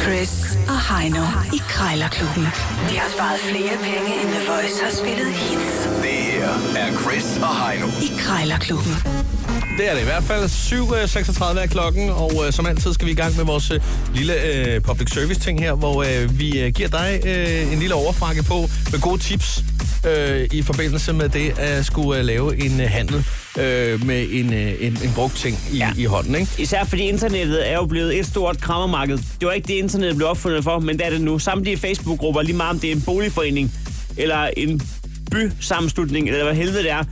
Chris og Heino i Krejlerklubben. De har sparet flere penge, end The Voice har spillet hits Det her er Chris og Heino. i Krejlerklubben. Det er det i hvert fald. 7.36 er klokken, og øh, som altid skal vi i gang med vores øh, lille øh, public service ting her, hvor øh, vi øh, giver dig øh, en lille overfrakke på med gode tips øh, i forbindelse med det at skulle øh, lave en øh, handel øh, med en, øh, en, en brugt ting i, ja. Ja. i hånden. Ikke? Især fordi internettet er jo blevet et stort krammermarked. Det var ikke det, internettet blev opfundet for, men det er det nu. Samtlige Facebook-grupper, lige meget om det er en boligforening, eller en bysammenslutning, eller hvad helvede det er,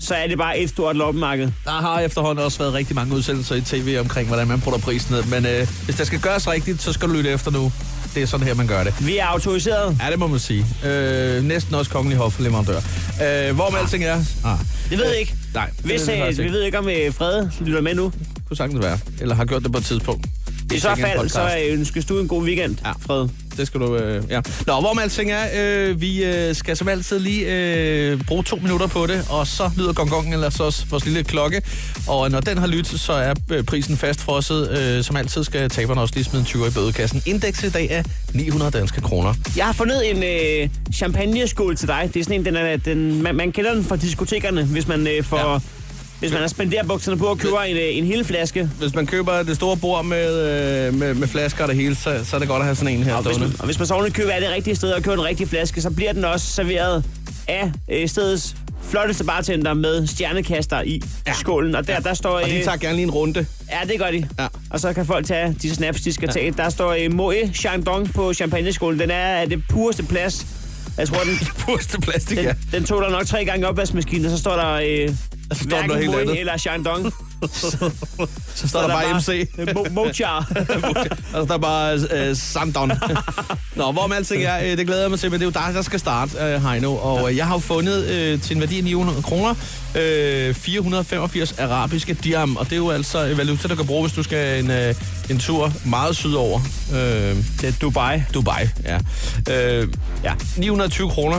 så er det bare et stort loppemarked. Der har efterhånden også været rigtig mange udsendelser i tv omkring, hvordan man putter prisen ned, men øh, hvis det skal gøres rigtigt, så skal du lytte efter nu. Det er sådan her, man gør det. Vi er autoriseret. Ja, det må man sige. Øh, næsten også kongelig hofleverandør. Øh, hvor med alting er? Ah. Det ved jeg ikke. Nej, det Hvis, ved vi øh, faktisk vi ikke. ved ikke, om øh, Frede lytter med nu. kunne sagtens være. Eller har gjort det på et tidspunkt. I så Sikke en fald, podcast. så øh, ønskes du en god weekend, Ja. ja. Frede. Det skal du... Øh, ja. Nå, hvor med alting er, øh, vi øh, skal som altid lige øh, bruge to minutter på det, og så lyder gongongen eller så også vores lille klokke. Og når den har lyttet, så er øh, prisen fastfrosset. Øh, som altid skal taberne også lige smide en 20 i bødekassen. Indeks i dag er 900 danske kroner. Jeg har fundet en øh, champagneskål til dig. Det er sådan en, den er, den, man, man kender den fra diskotekerne, hvis man øh, får... Ja. Ja. Hvis man har spenderbukserne på og køber en, øh, en hel flaske, Hvis man køber det store bord med, øh, med, med flasker og det hele, så, så er det godt at have sådan en her Og hvis, man, og hvis man så ordentligt køber af det rigtige sted og køber den rigtige flaske, så bliver den også serveret af øh, stedets flotteste bartender med stjernekaster i ja. skålen. Og der, der står... Og de øh, tager gerne lige en runde. Ja, det gør de. Ja. Og så kan folk tage de snaps, de skal ja. tage. Der står øh, Moe Chandon på champagneskålen. Den er af det pureste plads. Jeg tror, den, Puste plastik, den, ja. den tog der nok tre gange i opvaskemaskinen, og så står der... Øh, Så står der Hverken noget helt Moe andet. eller Chandon. Så står der bare MC. Mo- Mochar. altså, der er bare øh, Samdown. Nå, hvor med alting er, øh, det glæder jeg mig til, men det er jo dig, der skal starte, øh, Heino. Og øh, jeg har jo fundet øh, til en værdi af 900 kroner, øh, 485 arabiske dirham. Og det er jo altså en valuta, der kan bruge, hvis du skal en, øh, en tur meget sydover. Øh, til Dubai. Dubai, ja. Øh, ja. 920 kroner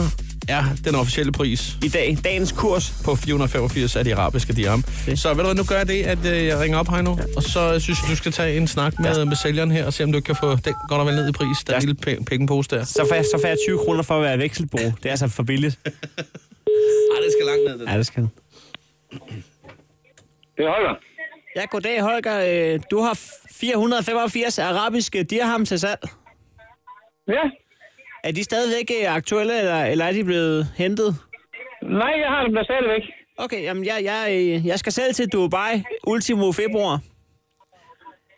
er den officielle pris I dag, dagens kurs. på 485 af de arabiske dirham. Okay. Okay. Så ved du hvad, nu gør jeg det, at øh, jeg ringer op her nu, ja. og så synes jeg, du skal tage en snak med, ja. med sælgeren her, og se om du ikke kan få den godt og vel ned i pris, der ja. Ja. lille pe- pengepose der. Så får, jeg, så får jeg 20 kroner for at være vekselbro. Det er altså for billigt. Nej, det skal langt ned. Ja, det skal den. Det holder. Ja, goddag Holger. Øh, Du har 485 arabiske dirham til salg. Ja. Er de stadigvæk øh, aktuelle, eller, eller er de blevet hentet? Nej, jeg har dem der stadigvæk. Okay, jamen jeg, jeg, øh, jeg skal selv til Dubai ultimo februar.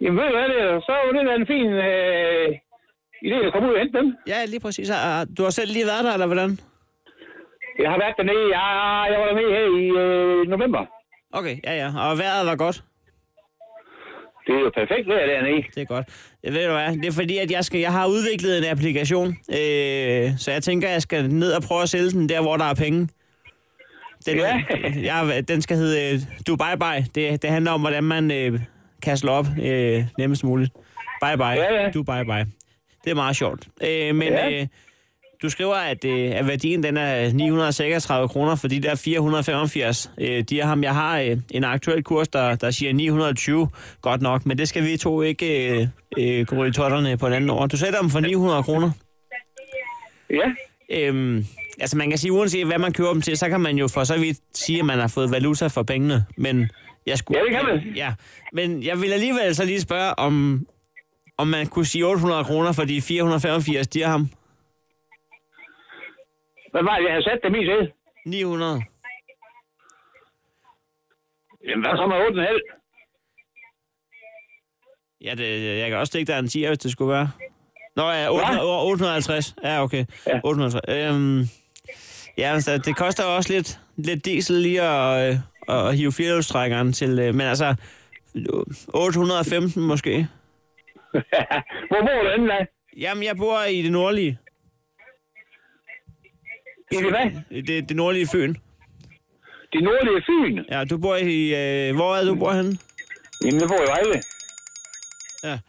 Jamen ved du hvad, det er, så er det da en fin øh, idé at komme ud og hente dem. Ja, lige præcis. Og, og Du har selv lige været der, eller hvordan? Jeg har været dernede, ja, jeg var dernede her i øh, november. Okay, ja ja. Og vejret var godt. Det er jo perfekt vejr dernede. Det er godt. Jeg ved du hvad, det er fordi, at jeg, skal, jeg har udviklet en applikation, øh, så jeg tænker, at jeg skal ned og prøve at sælge den der, hvor der er penge. Den, Ja. jeg, den skal hedde øh, Dubai Bye. Det, det handler om, hvordan man øh, kan slå op øh, nemmest muligt. Bye bye. Ja, ja. Dubai Bye. Det er meget sjovt. Øh, men Ja. ja. øh, du skriver, at, øh, at værdien den er 936 kroner for de der 485. Øh, de er ham, jeg har øh, en aktuel kurs, der, der siger 920. Godt nok, men det skal vi to ikke øh, øh, gå i totterne på en anden år. Du sætter dem for 900 kroner. Ja, Øhm, altså man kan sige, uanset hvad man køber dem til, så kan man jo for så vidt sige, at man har fået valuta for pengene. Men jeg skulle, Ja, det kan man. Ja, men jeg vil alligevel så lige spørge, om, om man kunne sige 800 kroner for de 485 dirham. hvad var det, jeg havde sat dem i til? 900. Jamen hvad så med 8,5? Ja, det, jeg kan også stikke dig en 10, hvis det skulle være. Nå, ja, 800, 850. Ja, okay. Ja. Ja. 850. Øhm, ja, altså, det koster jo også lidt, lidt diesel lige at, øh, at, at hive firehjulstrækkeren til. øh, Men altså, 815 måske. Hvor bor du henne, da? Jamen, jeg bor i det nordlige. I det hvad? Det, det nordlige Fyn. De nordlige Fyn. Ja, du bor i... Øh, hvor er det, du bor henne? Jamen, jeg bor i Vejle. Ja.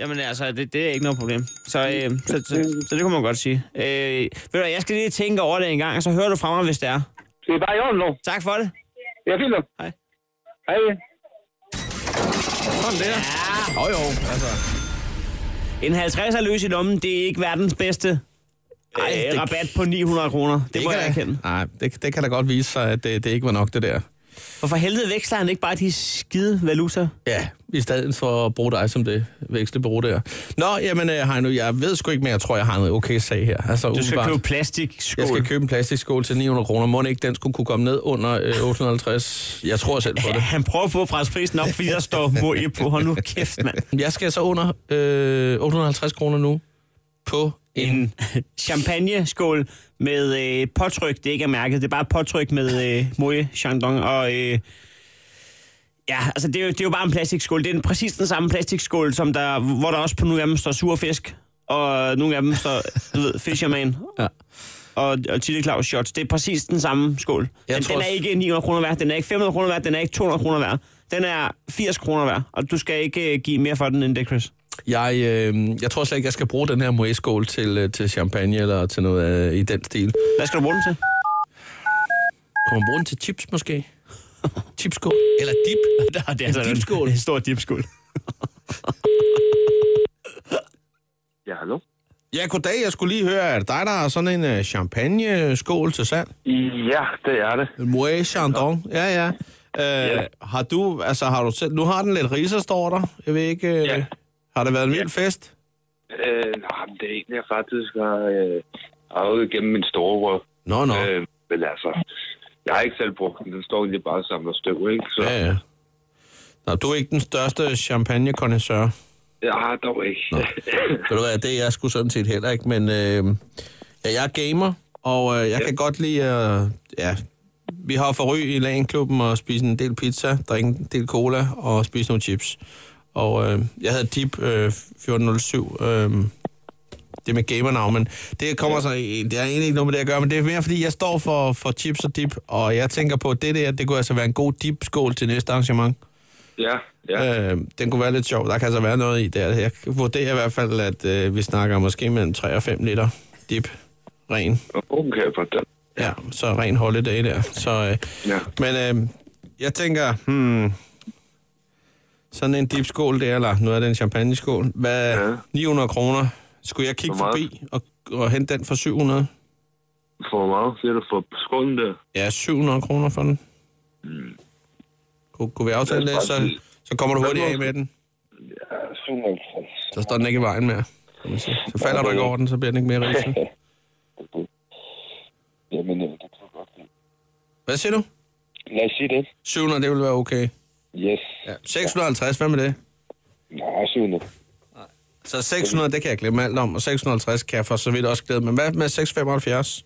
Jamen altså, det, det er ikke noget problem. Så, øh, så, så, så, så det kunne man godt sige. Øh, ved du hvad, jeg skal lige tænke over det en gang, og så hører du fra mig, hvis det er. Det er bare i orden nu. Tak for det. Jeg fint nu. Hej. Hej. Sådan der. Ja. Jo, jo. Altså. En 50'er løs i lommen, det er ikke verdens bedste Ej, Ej, øh, det- rabat på 900 kroner. Det, det må kan jeg da- erkende. Nej, det, det kan da godt vise sig, at det, det ikke var nok, det der. Og for helvede veksler han ikke bare de skide valuta. Ja, i stedet for at bruge dig som det vækstebureau der. Nå, jamen øh, Heino, jeg ved sgu ikke, men jeg tror, jeg har noget okay sag her. Altså, Du skal umiddelbart. købe plastikskål. Jeg skal købe en plastikskål til 900 kroner. Må ikke, den skulle kunne komme ned under øh, 850? Jeg tror selv på Ja, det. han prøver på at presse prisen op, fordi der står mor i på. Hold nu kæft, mand. Jeg skal så under øh, 850 kroner nu på en... En champagneskål med øh, påtryk, det ikke er mærket. Det er bare påtryk med øh, moje, chandon og... Øh, ja, altså det er, jo, det er jo bare en plastikskål. Det er den, præcis den samme plastikskål, som der, hvor der også på nogle af dem står surfisk. Og nogle af dem står, du ved, Fisherman. Ja. Og, og Tille Claus Shots. Det er præcis den samme skål. Jeg Den, tror den er også- ikke 900 kroner værd, den er ikke 500 kroner værd, den er ikke 200 kroner værd. Den er 80 kroner værd, og du skal ikke øh, give mere for den end det, Chris. Jeg, øh, jeg tror slet ikke, jeg skal bruge den her moët-skål til, øh, til champagne eller til noget øh, i den stil. Hvad skal du bruge den til? Kunne man bruge den til chips måske? Chipskål? Eller dip? Det er altså dipskål. en stor dipskål. Ja, hallo? Ja, goddag. Jeg skulle lige høre, er det dig, der har sådan en øh, champagne-skål til salg? Ja, det er det. Moët Chandon. Ja, ja. Øh, Ja. Har du, altså har du selv, nu har den lidt riser, står der. Jeg ved ikke, øh, Ja. har det været en vild fest? Øh, nej, men det er egentlig, jeg faktisk har øh, arvet igennem min store Nå, nå. øh, Men altså, jeg har ikke selv brugt den. Den står egentlig bare og samler støv, ikke? Så Ja, ja. Nå, du er ikke den største champagne -kondensør. jeg har dog ikke. Ved du hvad, det er jeg sgu sådan set heller ikke, men øh, ja, jeg er gamer, og øh, jeg ja. kan godt lide, øh, ja, vi har for ry i lagenklubben og spise en del pizza, drikke en del cola og spise nogle chips. Og øh, jeg havde Deep øh, 1407, øh, det er med gamernavn, men det kommer så, det er egentlig ikke noget med det at gøre, men det er mere fordi, jeg står for, for chips og dip, og jeg tænker på, at det der, det kunne altså være en god dip-skål til næste arrangement. Ja, ja. Øh, den kunne være lidt sjov. Der kan altså være noget i der. Jeg vurderer i hvert fald, at øh, vi snakker måske mellem 3 og 5 liter dip ren. Okay, for den. Ja, så ren holiday der. Så, øh, Ja. Men øh, jeg tænker, hmm, sådan en dipskål der, eller nu er det en champagneskål. Hvad, ja. Ja. 900 kroner. Skulle jeg kigge Hvor meget? forbi og, og hente den for 700? For hvor meget siger du for skålen der? Ja, 700 kroner for den. Mm. Kunne, kunne vi aftale Lad det? os bare Så, sige- så kommer du hurtigt af Hvad må- med den. Ja, 750. Så står den ikke i vejen mere. kan man sige. Så falder du ikke over den, så bliver den ikke mere rigtig. Jamen, øh, det tror jeg godt. Hvad siger du? Lad os sige det. 700, det vil være okay. Yes. Ja. 650, hvad med det? Nå, 700. Så 600, det kan jeg glemme alt om, og 650 kan jeg for så vidt også glæde. Men hvad med 675?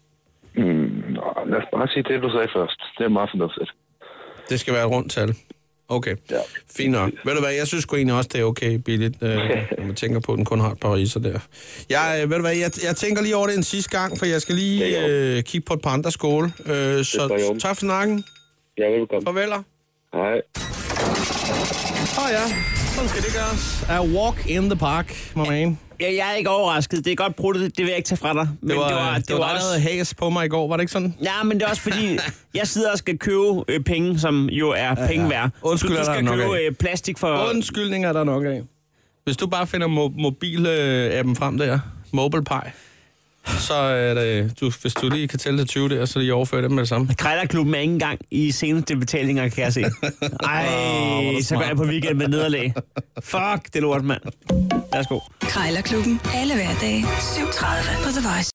Nå, lad os bare sige det, du sagde først. Det er meget fornuftigt. Det skal være et rundt tal. Okay, Ja. fint nok. Ved du hvad, jeg synes sgu egentlig også, det er okay billigt, øh, når man tænker på, at den kun har et par riser der. Jeg, øh, ved du hvad, jeg, jeg tænker lige over det en sidste gang, for jeg skal Det lige er i øh, kigge på et par andre skåle. Øh, er i så orden. tak for snakken. Ja, velkommen. Farveler. Hej. Åh oh, ja, sådan skal det gøres. A walk in the park, my man. Jeg, jeg er ikke overrasket. Det er godt brudt, det vil jeg ikke tage fra dig. Men Det var, det var, det var, det var dig, der havde også, hæs på mig i går, var det ikke sådan? Ja, men det er også fordi, jeg sidder og skal købe øh, penge, som jo er ja, penge værd. Undskyld, du, er du der skal nok købe af. øh, plastik for... Undskyldninger er der nok af. Hvis du bare finder mo- mobilappen frem der, MobilePay, så er det, du, hvis du lige kan tælle til 20 der, så lige overfører dem med det samme. Krejlerklubben er ikke engang i seneste betalinger, kan jeg se. Ej, du så går smart. jeg på weekend med nederlag. Fuck, det er lort, mand. Værsgo. Krejlerklubben. Alle hverdage. 7.30 på The Voice.